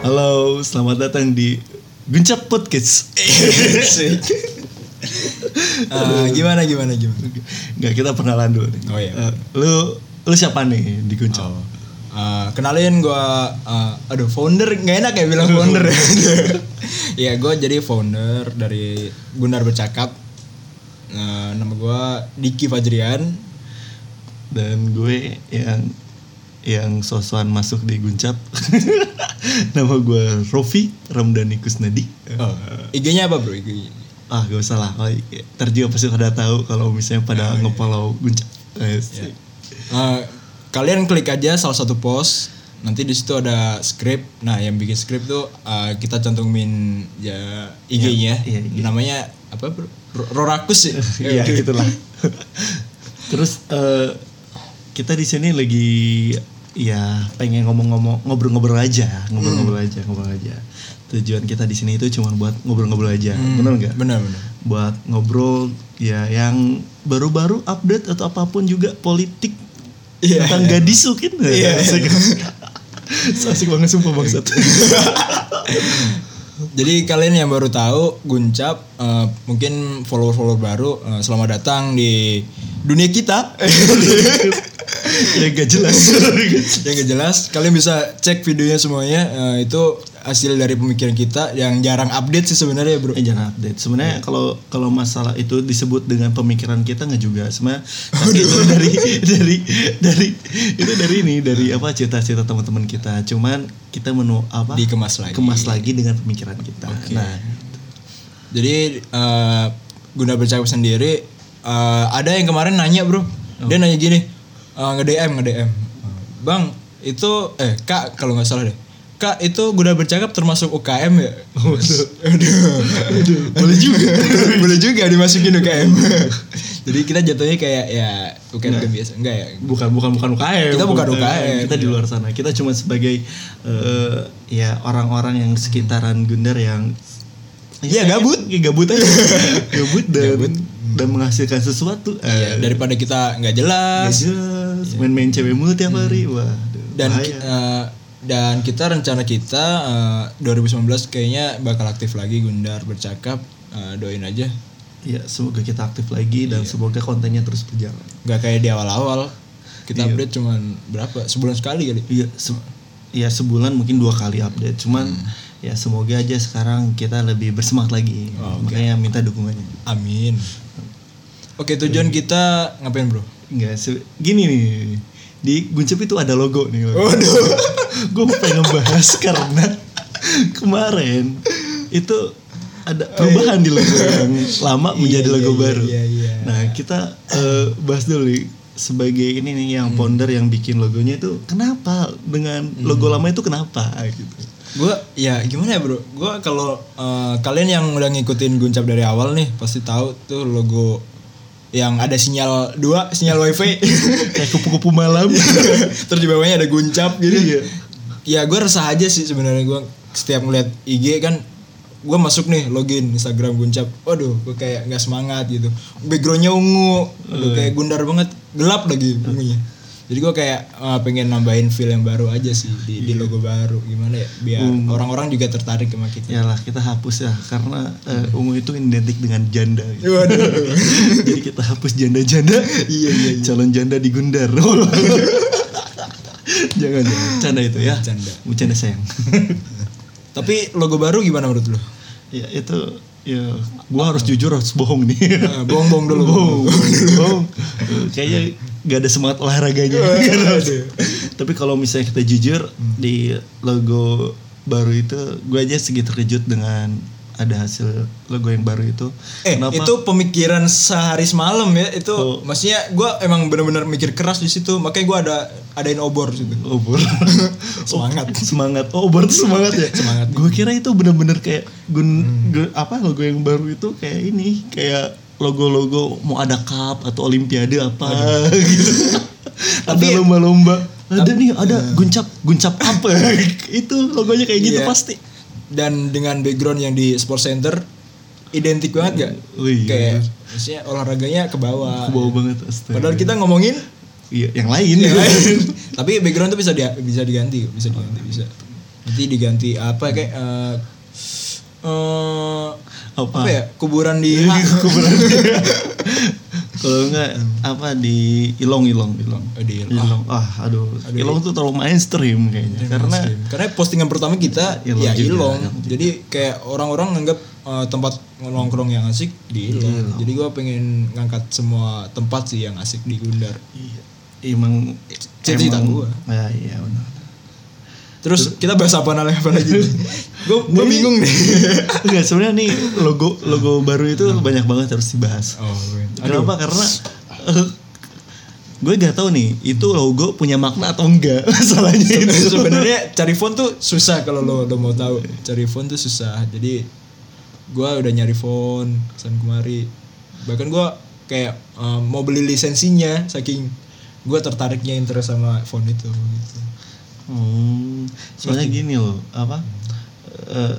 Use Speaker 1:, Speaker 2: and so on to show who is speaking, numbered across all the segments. Speaker 1: Halo, selamat datang di Guncap Podcast. Eh,
Speaker 2: Ah, gimana gimana gimana?
Speaker 1: Enggak, kita perkenalan dulu nih.
Speaker 2: Oh, iya.
Speaker 1: Eh, lu lu siapa nih di Guncap?
Speaker 2: Oh. Ah, kenalin gue, aduh founder nggak enak ya bilang founder. ya gue jadi founder dari Gunar Bercakap. Nah, nama gue Diki Fajrian.
Speaker 1: Dan gue yang yang sosokan masuk di Guncap. Nama gue Rofi Ramdhani Kusnadi.
Speaker 2: Oh, IG-nya apa bro? IG
Speaker 1: Ah, gak usah lah. Oh, Ntar juga pasti pada tahu kalau misalnya
Speaker 2: Oh, iya.
Speaker 1: pada nge-follow Guncap. Eh,
Speaker 2: Ah, kalian klik aja salah satu post. Nanti di situ ada script. Nah, yang bikin script tuh ah, kita cantumin ya IG-nya.
Speaker 1: Iya, iya,
Speaker 2: Namanya apa bro? Ro- Rorakus ya?
Speaker 1: Iya, gitulah. Terus eh, kita di sini lagi ya pengen ngomong-ngomong ngobrol-ngobrol aja, ngobrol-ngobrol aja, ngobrol aja. Tujuan kita di sini itu cuma buat ngobrol-ngobrol aja, benar nggak?
Speaker 2: Benar benar.
Speaker 1: Buat ngobrol ya yang baru-baru update atau apapun juga politik
Speaker 2: Iya.
Speaker 1: tentang gadis mungkin. Iya. Asik banget sumpah bangsat.
Speaker 2: Jadi kalian yang baru tahu Guncap eh, mungkin follower-follower baru eh, selamat datang di dunia kita
Speaker 1: ya gak jelas.
Speaker 2: yang gak jelas kalian bisa cek videonya semuanya eh, itu hasil dari pemikiran kita yang jarang update sih sebenarnya bro.
Speaker 1: Eh, jangan update. Sebenarnya
Speaker 2: Iya.
Speaker 1: kalau kalau masalah itu disebut dengan pemikiran kita nggak juga. Sebenarnya tapi itu dari dari dari itu dari ini dari
Speaker 2: Nah.
Speaker 1: apa cita-cita teman-teman kita. Cuman kita menu apa?
Speaker 2: Dikemas lagi.
Speaker 1: Kemas lagi dengan pemikiran kita. Nah,
Speaker 2: Jadi eh Guna bercakap sendiri eh, ada yang kemarin nanya bro dia nanya gini eh, nge DM nge DM bang itu eh kak kalau nggak salah deh kak itu Guna bercakap termasuk UKM ya Aduh.
Speaker 1: boleh juga.
Speaker 2: boleh juga dimasukin UKM jadi kita jatuhnya kayak ya UKM kan biasa enggak ya
Speaker 1: Bukan bukan bukan UKM.
Speaker 2: Kita bukan UKM. iya.
Speaker 1: Kita di luar sana. Kita cuma sebagai eh, ya orang-orang yang sekitaran Gundar yang
Speaker 2: Iya, gabut.
Speaker 1: Ya, gabut aja. gabut dan dan menghasilkan sesuatu.
Speaker 2: Iya,
Speaker 1: Eh,
Speaker 2: daripada kita nggak jelas
Speaker 1: Jelas, main-main cewek mulu tiap hari. Wah,
Speaker 2: dan ki- eh, dan kita rencana kita eh, 2019 kayaknya bakal aktif lagi Gundar bercakap Eh, doain aja
Speaker 1: ya semoga kita aktif lagi dan semoga kontennya terus berjalan.
Speaker 2: nggak kayak di awal-awal kita update cuman berapa sebulan sekali kali
Speaker 1: Iya, se- ya sebulan mungkin dua kali update. Cuman ya semoga aja sekarang kita lebih bersemangat lagi. Makanya minta dukungannya.
Speaker 2: amin oke tujuan kita ngapain bro
Speaker 1: Enggak, se- gini nih. Di Guncep itu ada logo nih. Waduh. Gue mau pengen ngebahas karena kemarin itu ada perubahan di logo yang lama menjadi
Speaker 2: Oh, iya,
Speaker 1: logo
Speaker 2: iya,
Speaker 1: baru.
Speaker 2: iya, iya.
Speaker 1: Nah, kita eh, bahas dulu nih sebagai ini nih
Speaker 2: Hmm.
Speaker 1: yang founder yang bikin logonya itu kenapa dengan logo lama itu kenapa gitu.
Speaker 2: gue ya gimana ya bro gue kalau eh, kalian yang udah ngikutin guncap dari awal nih pasti tahu tuh logo yang ada sinyal dua sinyal wifi
Speaker 1: Kayak kupu-kupu malam.
Speaker 2: terus di bawahnya ada guncap gitu
Speaker 1: Iya.
Speaker 2: ya gue resah aja sih sebenarnya gue setiap ngeliat IG kan gue masuk nih login Instagram guncap waduh gue kayak nggak semangat gitu backgroundnya ungu aduh, kayak gundar banget gelap lagi ungunya jadi gue kayak eh, pengen nambahin feel yang baru aja sih di, di logo baru gimana ya biar orang-orang juga tertarik sama kita
Speaker 1: Yalah, kita hapus ya karena eh,
Speaker 2: Hmm.
Speaker 1: ungu itu identik dengan janda. Gitu.
Speaker 2: Waduh.
Speaker 1: Jadi kita hapus janda-janda. iya, iya, Calon janda di Gundar. jangan, jangan. Canda itu ya.
Speaker 2: Bercanda.
Speaker 1: Bercanda sayang.
Speaker 2: Tapi logo baru gimana menurut lu?
Speaker 1: ya itu ya gua harus jujur harus bohong nih.
Speaker 2: Eh, Bohong-bohong dulu.
Speaker 1: Nah, bohong. bohong. Kayaknya gak ada semangat olahraganya. Tapi kalau misalnya kita jujur di logo baru itu gua aja segi terkejut dengan ada hasil logo yang baru itu.
Speaker 2: Eh, itu pemikiran sehari semalam ya. Itu
Speaker 1: Oh.
Speaker 2: maksudnya gua emang benar-benar mikir keras di situ. Makanya gua ada adain obor gitu.
Speaker 1: obor
Speaker 2: Semangat.
Speaker 1: Oh, semangat oh obor tuh semangat Hmm. ya
Speaker 2: Semangat.
Speaker 1: gue kira itu bener-bener kayak gun, gun- apa logo yang baru itu kayak ini kayak logo-logo mau ada cup atau olimpiade apa gitu ada
Speaker 2: Tapi-
Speaker 1: lomba-lomba ada nih ada guncap guncap apa itu logonya kayak gitu
Speaker 2: Iya.
Speaker 1: pasti
Speaker 2: Dan dengan background yang di Sport Center identik banget gak?
Speaker 1: Oh, iya.
Speaker 2: Kayak maksudnya olahraganya ke bawah.
Speaker 1: wow banget astaga.
Speaker 2: Padahal kita ngomongin
Speaker 1: Iya, yang lain
Speaker 2: ya, tapi background tuh bisa dia bisa diganti, bisa diganti, bisa. nanti diganti apa kayak eh eh,
Speaker 1: Apa?
Speaker 2: apa ya kuburan di
Speaker 1: Ini kuburan dia. Kalau enggak apa di Ilong Ilong Ilong.
Speaker 2: Oh, di Ilong. iya.
Speaker 1: Ilong. Ah, aduh. Ilong tuh terlalu mainstream kayaknya. Karena
Speaker 2: karena postingan pertama kita
Speaker 1: Ilong
Speaker 2: ya
Speaker 1: juga,
Speaker 2: ilong
Speaker 1: Ilong
Speaker 2: jadi kayak orang-orang nganggap eh, tempat nongkrong yang asik di
Speaker 1: Iya,
Speaker 2: ilong, jadi gua pengen ngangkat semua tempat sih yang asik di Gundar
Speaker 1: iya, emang
Speaker 2: Cita-cita
Speaker 1: emang-
Speaker 2: gua.
Speaker 1: Ya, iya benar.
Speaker 2: terus kita bahas apa naleh apa lagi gue gue bingung nih
Speaker 1: Enggak, sebenarnya nih logo logo baru itu banyak banget harus dibahas.
Speaker 2: oh,
Speaker 1: Kenapa? Karena eh, gue gak tahu nih itu logo punya makna atau enggak masalahnya itu.
Speaker 2: sebenarnya cari font tuh susah kalau lo lo mau tahu cari font tuh susah jadi gua udah nyari font kesan kemari bahkan gua kayak eh, mau beli lisensinya saking gua tertariknya interest sama font itu gitu.
Speaker 1: Hmm, soalnya gini loh, apa eh,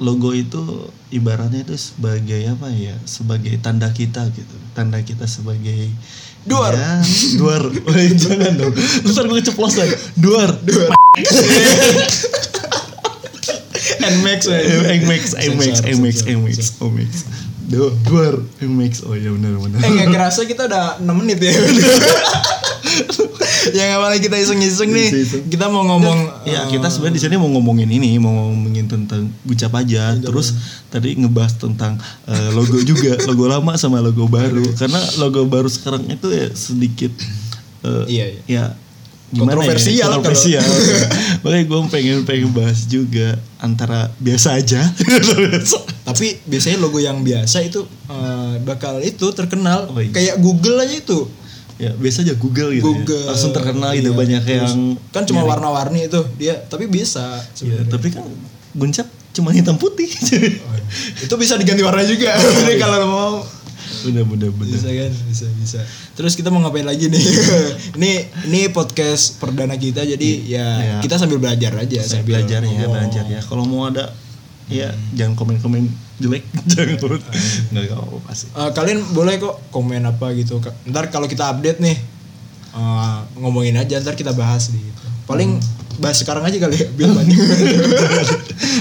Speaker 1: logo itu ibaratnya itu sebagai apa ya? Sebagai tanda kita gitu, tanda kita sebagai
Speaker 2: Duar.
Speaker 1: Ya, duar. Weh, jangan dong. Ntar gue keceplosan. Duar. Duar.
Speaker 2: Nmax
Speaker 1: eh.
Speaker 2: aja.
Speaker 1: MX, MX,
Speaker 2: Sensor,
Speaker 1: MX,
Speaker 2: sensor,
Speaker 1: MX, MX. Du- Duar, MX. Oh iya benar benar.
Speaker 2: Eh nggak kerasa kita udah 6 menit ya. Yang awalnya kita iseng-iseng nih,
Speaker 1: Iseng-iseng.
Speaker 2: kita mau ngomong
Speaker 1: Ya
Speaker 2: eh,
Speaker 1: kita sebenarnya di sini mau ngomongin ini, mau ngomongin tentang gucap aja.
Speaker 2: Iya,
Speaker 1: Terus tadi ngebahas tentang eh, logo juga, logo lama sama logo baru.
Speaker 2: Iya.
Speaker 1: Karena logo baru sekarang itu ya sedikit eh,
Speaker 2: Iya, iya.
Speaker 1: ya gimana
Speaker 2: Kontroversial
Speaker 1: ya?
Speaker 2: kalau-
Speaker 1: Kontroversial. Makanya gue pengen pengen bahas juga antara biasa aja.
Speaker 2: Tapi biasanya logo yang biasa itu eh, bakal itu terkenal
Speaker 1: Oh, iya.
Speaker 2: kayak Google aja itu.
Speaker 1: ya biasa aja Google gitu. ya.
Speaker 2: Google.
Speaker 1: Langsung terkenal gitu
Speaker 2: Iya,
Speaker 1: banyak
Speaker 2: terus.
Speaker 1: yang
Speaker 2: kan cuma
Speaker 1: nyari.
Speaker 2: warna-warni itu dia, tapi bisa
Speaker 1: Iya,
Speaker 2: sebenarnya. Oh, iya.
Speaker 1: tapi kan guncap cuma hitam putih.
Speaker 2: itu bisa diganti warna juga.
Speaker 1: Iya.
Speaker 2: Jadi kalau lo mau
Speaker 1: bener bener bener.
Speaker 2: bisa kan, bisa bisa. Terus kita mau ngapain lagi nih? ini ini podcast perdana kita jadi ya
Speaker 1: Iya.
Speaker 2: kita sambil belajar aja,
Speaker 1: saya
Speaker 2: sambil
Speaker 1: belajar ya
Speaker 2: ngomong.
Speaker 1: belajar ya kalau mau ada ya jangan komen komen jelek jangan komen nggak nggak apa apa sih
Speaker 2: Eh, kalian boleh kok komen apa gitu. Ka- Ntar kalau kita update nih eh, ngomongin aja ntar kita bahas di gitu. Paling bahas sekarang aja kali ya biar banyak.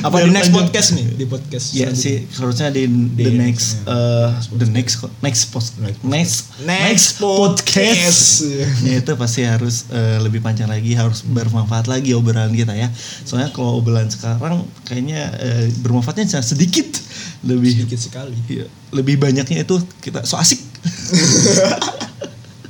Speaker 2: apa
Speaker 1: Hmm. Biar
Speaker 2: di next
Speaker 1: panjang.
Speaker 2: podcast nih di podcast.
Speaker 1: ya
Speaker 2: selanjutnya.
Speaker 1: sih harusnya di the next eh, the next co- next post next
Speaker 2: Next podcast.
Speaker 1: Ya, itu pasti harus eh, lebih panjang lagi harus bermanfaat lagi obrolan kita ya soalnya kalau obrolan sekarang kayaknya eh, bermanfaatnya sangat sedikit lebih
Speaker 2: Sedikit sekali.
Speaker 1: iya, lebih banyaknya itu kita so asik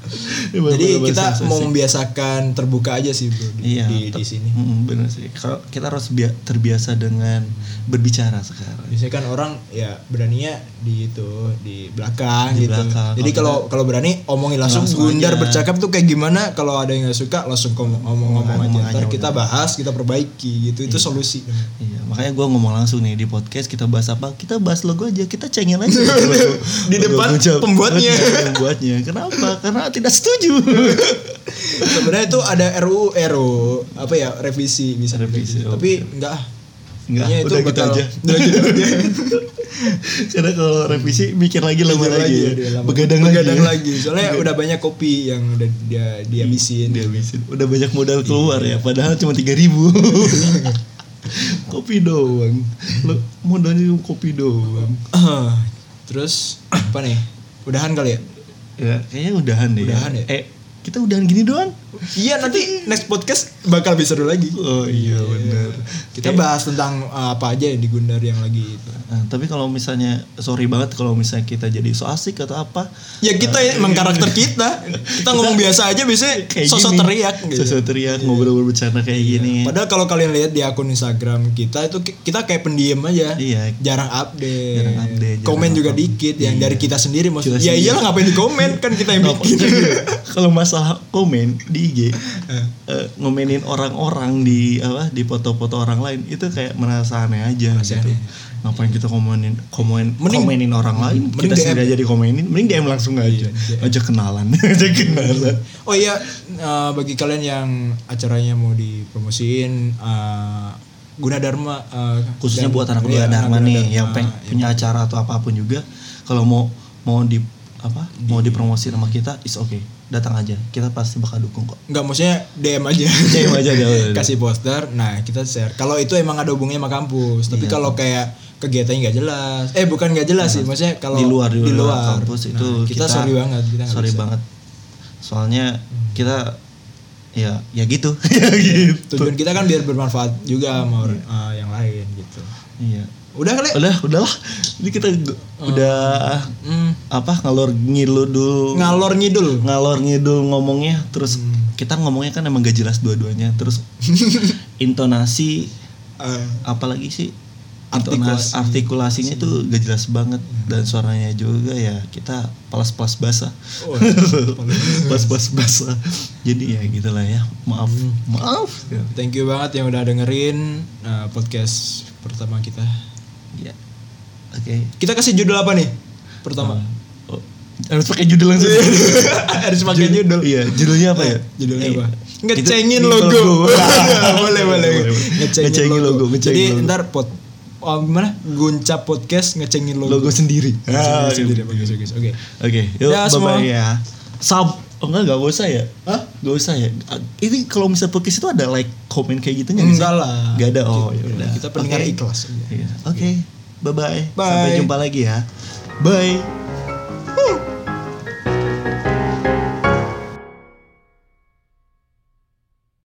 Speaker 2: Jadi
Speaker 1: Bahasa-bahasa
Speaker 2: kita
Speaker 1: so
Speaker 2: mau
Speaker 1: asik.
Speaker 2: membiasakan terbuka aja sih bro di,
Speaker 1: Iya,
Speaker 2: di,
Speaker 1: ter-
Speaker 2: di sini.
Speaker 1: Mm, bener sih. Kalau kita harus bia- terbiasa dengan berbicara sekarang.
Speaker 2: Biasanya kan orang ya beraninya di itu di belakang
Speaker 1: Di
Speaker 2: gitu.
Speaker 1: belakang.
Speaker 2: Jadi kalau kalau berani omongin langsung,
Speaker 1: Langsung
Speaker 2: gundar
Speaker 1: aja.
Speaker 2: bercakap tuh kayak gimana kalau ada yang nggak suka langsung kom- ngomong-ngomong aja.
Speaker 1: Ngomong aja
Speaker 2: Ntar
Speaker 1: udah.
Speaker 2: kita bahas, kita perbaiki gitu. Itu solusi.
Speaker 1: Iya, makanya gue ngomong langsung nih di podcast kita bahas apa? Kita bahas logo aja, kita cengin aja.
Speaker 2: Di depan pembuatnya.
Speaker 1: Iya, pembuatnya. Kenapa? Karena tidak setuju.
Speaker 2: Sebenarnya itu ada RUU RUU apa ya revisi bisa
Speaker 1: Revisi,
Speaker 2: direvisi.
Speaker 1: oke.
Speaker 2: Tapi enggak ah.
Speaker 1: Enggak,
Speaker 2: Kayaknya
Speaker 1: udah gitu
Speaker 2: bakal-
Speaker 1: aja.
Speaker 2: Udah gitu aja.
Speaker 1: Karena kalau revisi mikir lagi lama
Speaker 2: Mikir
Speaker 1: lagi,
Speaker 2: ya, dia
Speaker 1: ya.
Speaker 2: lama.
Speaker 1: begadang,
Speaker 2: Begadang
Speaker 1: lagi.
Speaker 2: lagi. Soalnya udah banyak kopi yang udah dia dihabisin.
Speaker 1: Dihabisin. Iya, Udah banyak modal keluar ya,
Speaker 2: Iya.
Speaker 1: padahal cuma 3000 kopi doang. Lo modalnya cuma kopi doang.
Speaker 2: Terus apa nih? Udahan kali ya?
Speaker 1: Ya, kayaknya udahan deh.
Speaker 2: Udahan ya?
Speaker 1: Eh, kita udahan gini doang.
Speaker 2: Iya nanti next podcast bakal bisa seru lagi.
Speaker 1: Oh iya benar.
Speaker 2: Kita bahas tentang uh, apa aja ya di Gundar yang lagi itu.
Speaker 1: Nah, tapi kalau misalnya sorry banget kalau misalnya kita jadi so asik atau apa
Speaker 2: Ya kita ya, emang karakter kita. Kita ngomong biasa aja biasanya
Speaker 1: kayak gini.
Speaker 2: sosok teriak gitu. Iya,
Speaker 1: Sosok teriak ngobrol-ngobrol bercanda kayak gini.
Speaker 2: Padahal kalau kalian lihat di akun Instagram kita itu ki- kita kayak pendiam aja.
Speaker 1: Iya.
Speaker 2: Jarang update.
Speaker 1: Jarang update, jarang
Speaker 2: komen juga
Speaker 1: apa. Iya.
Speaker 2: dikit yang dari kita sendiri maksudnya.
Speaker 1: Kita
Speaker 2: Ya
Speaker 1: sendiri.
Speaker 2: iyalah ngapain di komen kan kita yang bikin.
Speaker 1: kalau masalah komen di IG eh, ngomenin orang-orang di apa di foto-foto orang lain itu kayak merasa aneh aja gitu. Ngapain kita komenin komen
Speaker 2: Mending-
Speaker 1: komenin orang lain?
Speaker 2: mending
Speaker 1: Kita
Speaker 2: Iya, DM.
Speaker 1: sendiri aja dikomenin, mending DM langsung aja. aja kenalan, aja kenalan.
Speaker 2: Oh iya, eh, bagi kalian yang acaranya mau dipromosiin eh, Gunadarma eh,
Speaker 1: khususnya
Speaker 2: dan-
Speaker 1: buat anak
Speaker 2: iya,
Speaker 1: Gunadarma
Speaker 2: anak
Speaker 1: nih
Speaker 2: Gunadarma.
Speaker 1: yang peng- punya acara atau apapun juga kalau mau mau di apa mau dipromosi sama kita is okay datang aja kita pasti bakal dukung kok
Speaker 2: Enggak maksudnya DM aja.
Speaker 1: DM aja, DM aja.
Speaker 2: Kasih poster. Nah, kita share. Kalau itu emang ada hubungannya sama kampus,
Speaker 1: Iya.
Speaker 2: tapi kalau kayak kegiatannya nggak jelas. Eh, bukan nggak jelas sih, maksudnya kalau
Speaker 1: di luar di luar,
Speaker 2: luar.
Speaker 1: kampus itu
Speaker 2: Nah, kita, sorry banget, kita nggak
Speaker 1: sorry
Speaker 2: bisa. Hmm.
Speaker 1: banget soalnya kita ya ya gitu ya gitu
Speaker 2: Tujuan kita kan biar bermanfaat juga sama orang- eh, yang lain gitu.
Speaker 1: iya
Speaker 2: Udah kali.
Speaker 1: udah udahlah ini kita g- udah
Speaker 2: Hmm,
Speaker 1: apa ngalor ngidul
Speaker 2: ngalor ngidul.
Speaker 1: ngalor ngidul ngomongnya terus kita ngomongnya kan emang gak jelas dua-duanya terus intonasi
Speaker 2: Eh,
Speaker 1: apalagi sih
Speaker 2: Artikulasi.
Speaker 1: intonasi artikulasinya tuh gak jelas banget dan suaranya juga ya kita palas-palas basah
Speaker 2: Oh,
Speaker 1: iya. palas-palas basah jadi ya gitulah ya maaf maaf
Speaker 2: thank you banget yang udah dengerin eh, podcast pertama kita.
Speaker 1: ya oke
Speaker 2: Kita kasih judul apa nih? Pertama.
Speaker 1: Oh, harus pakai judul langsung
Speaker 2: Harus pakai judul.
Speaker 1: iya judulnya apa ya
Speaker 2: judulnya
Speaker 1: Eh,
Speaker 2: apa?
Speaker 1: itu-
Speaker 2: Ngecengin
Speaker 1: itu
Speaker 2: logo.
Speaker 1: logo.
Speaker 2: boleh, boleh. Ngecengin,
Speaker 1: Ngecengin
Speaker 2: logo.
Speaker 1: logo, ngecengin
Speaker 2: Jadi
Speaker 1: logo.
Speaker 2: ntar pot oh, gimana? Guncap podcast ngecengin logo.
Speaker 1: logo sendiri Ah,
Speaker 2: Ah, oke,
Speaker 1: gitu.
Speaker 2: bagus, bagus. Oke.
Speaker 1: oke yuk
Speaker 2: Ya,
Speaker 1: bye
Speaker 2: semua.
Speaker 1: bye ya sub oh, enggak enggak usah ya Hah? enggak usah ya Ah, ini kalau misalnya podcast itu ada like comment kayak gitunya nggak sih?
Speaker 2: Enggak lah.
Speaker 1: Nggak ada oh
Speaker 2: Gitu.
Speaker 1: yaudah.
Speaker 2: Kita pendengar
Speaker 1: Oke.
Speaker 2: ikhlas.
Speaker 1: Iya. oke bye bye
Speaker 2: Bye.
Speaker 1: sampai jumpa lagi ya bye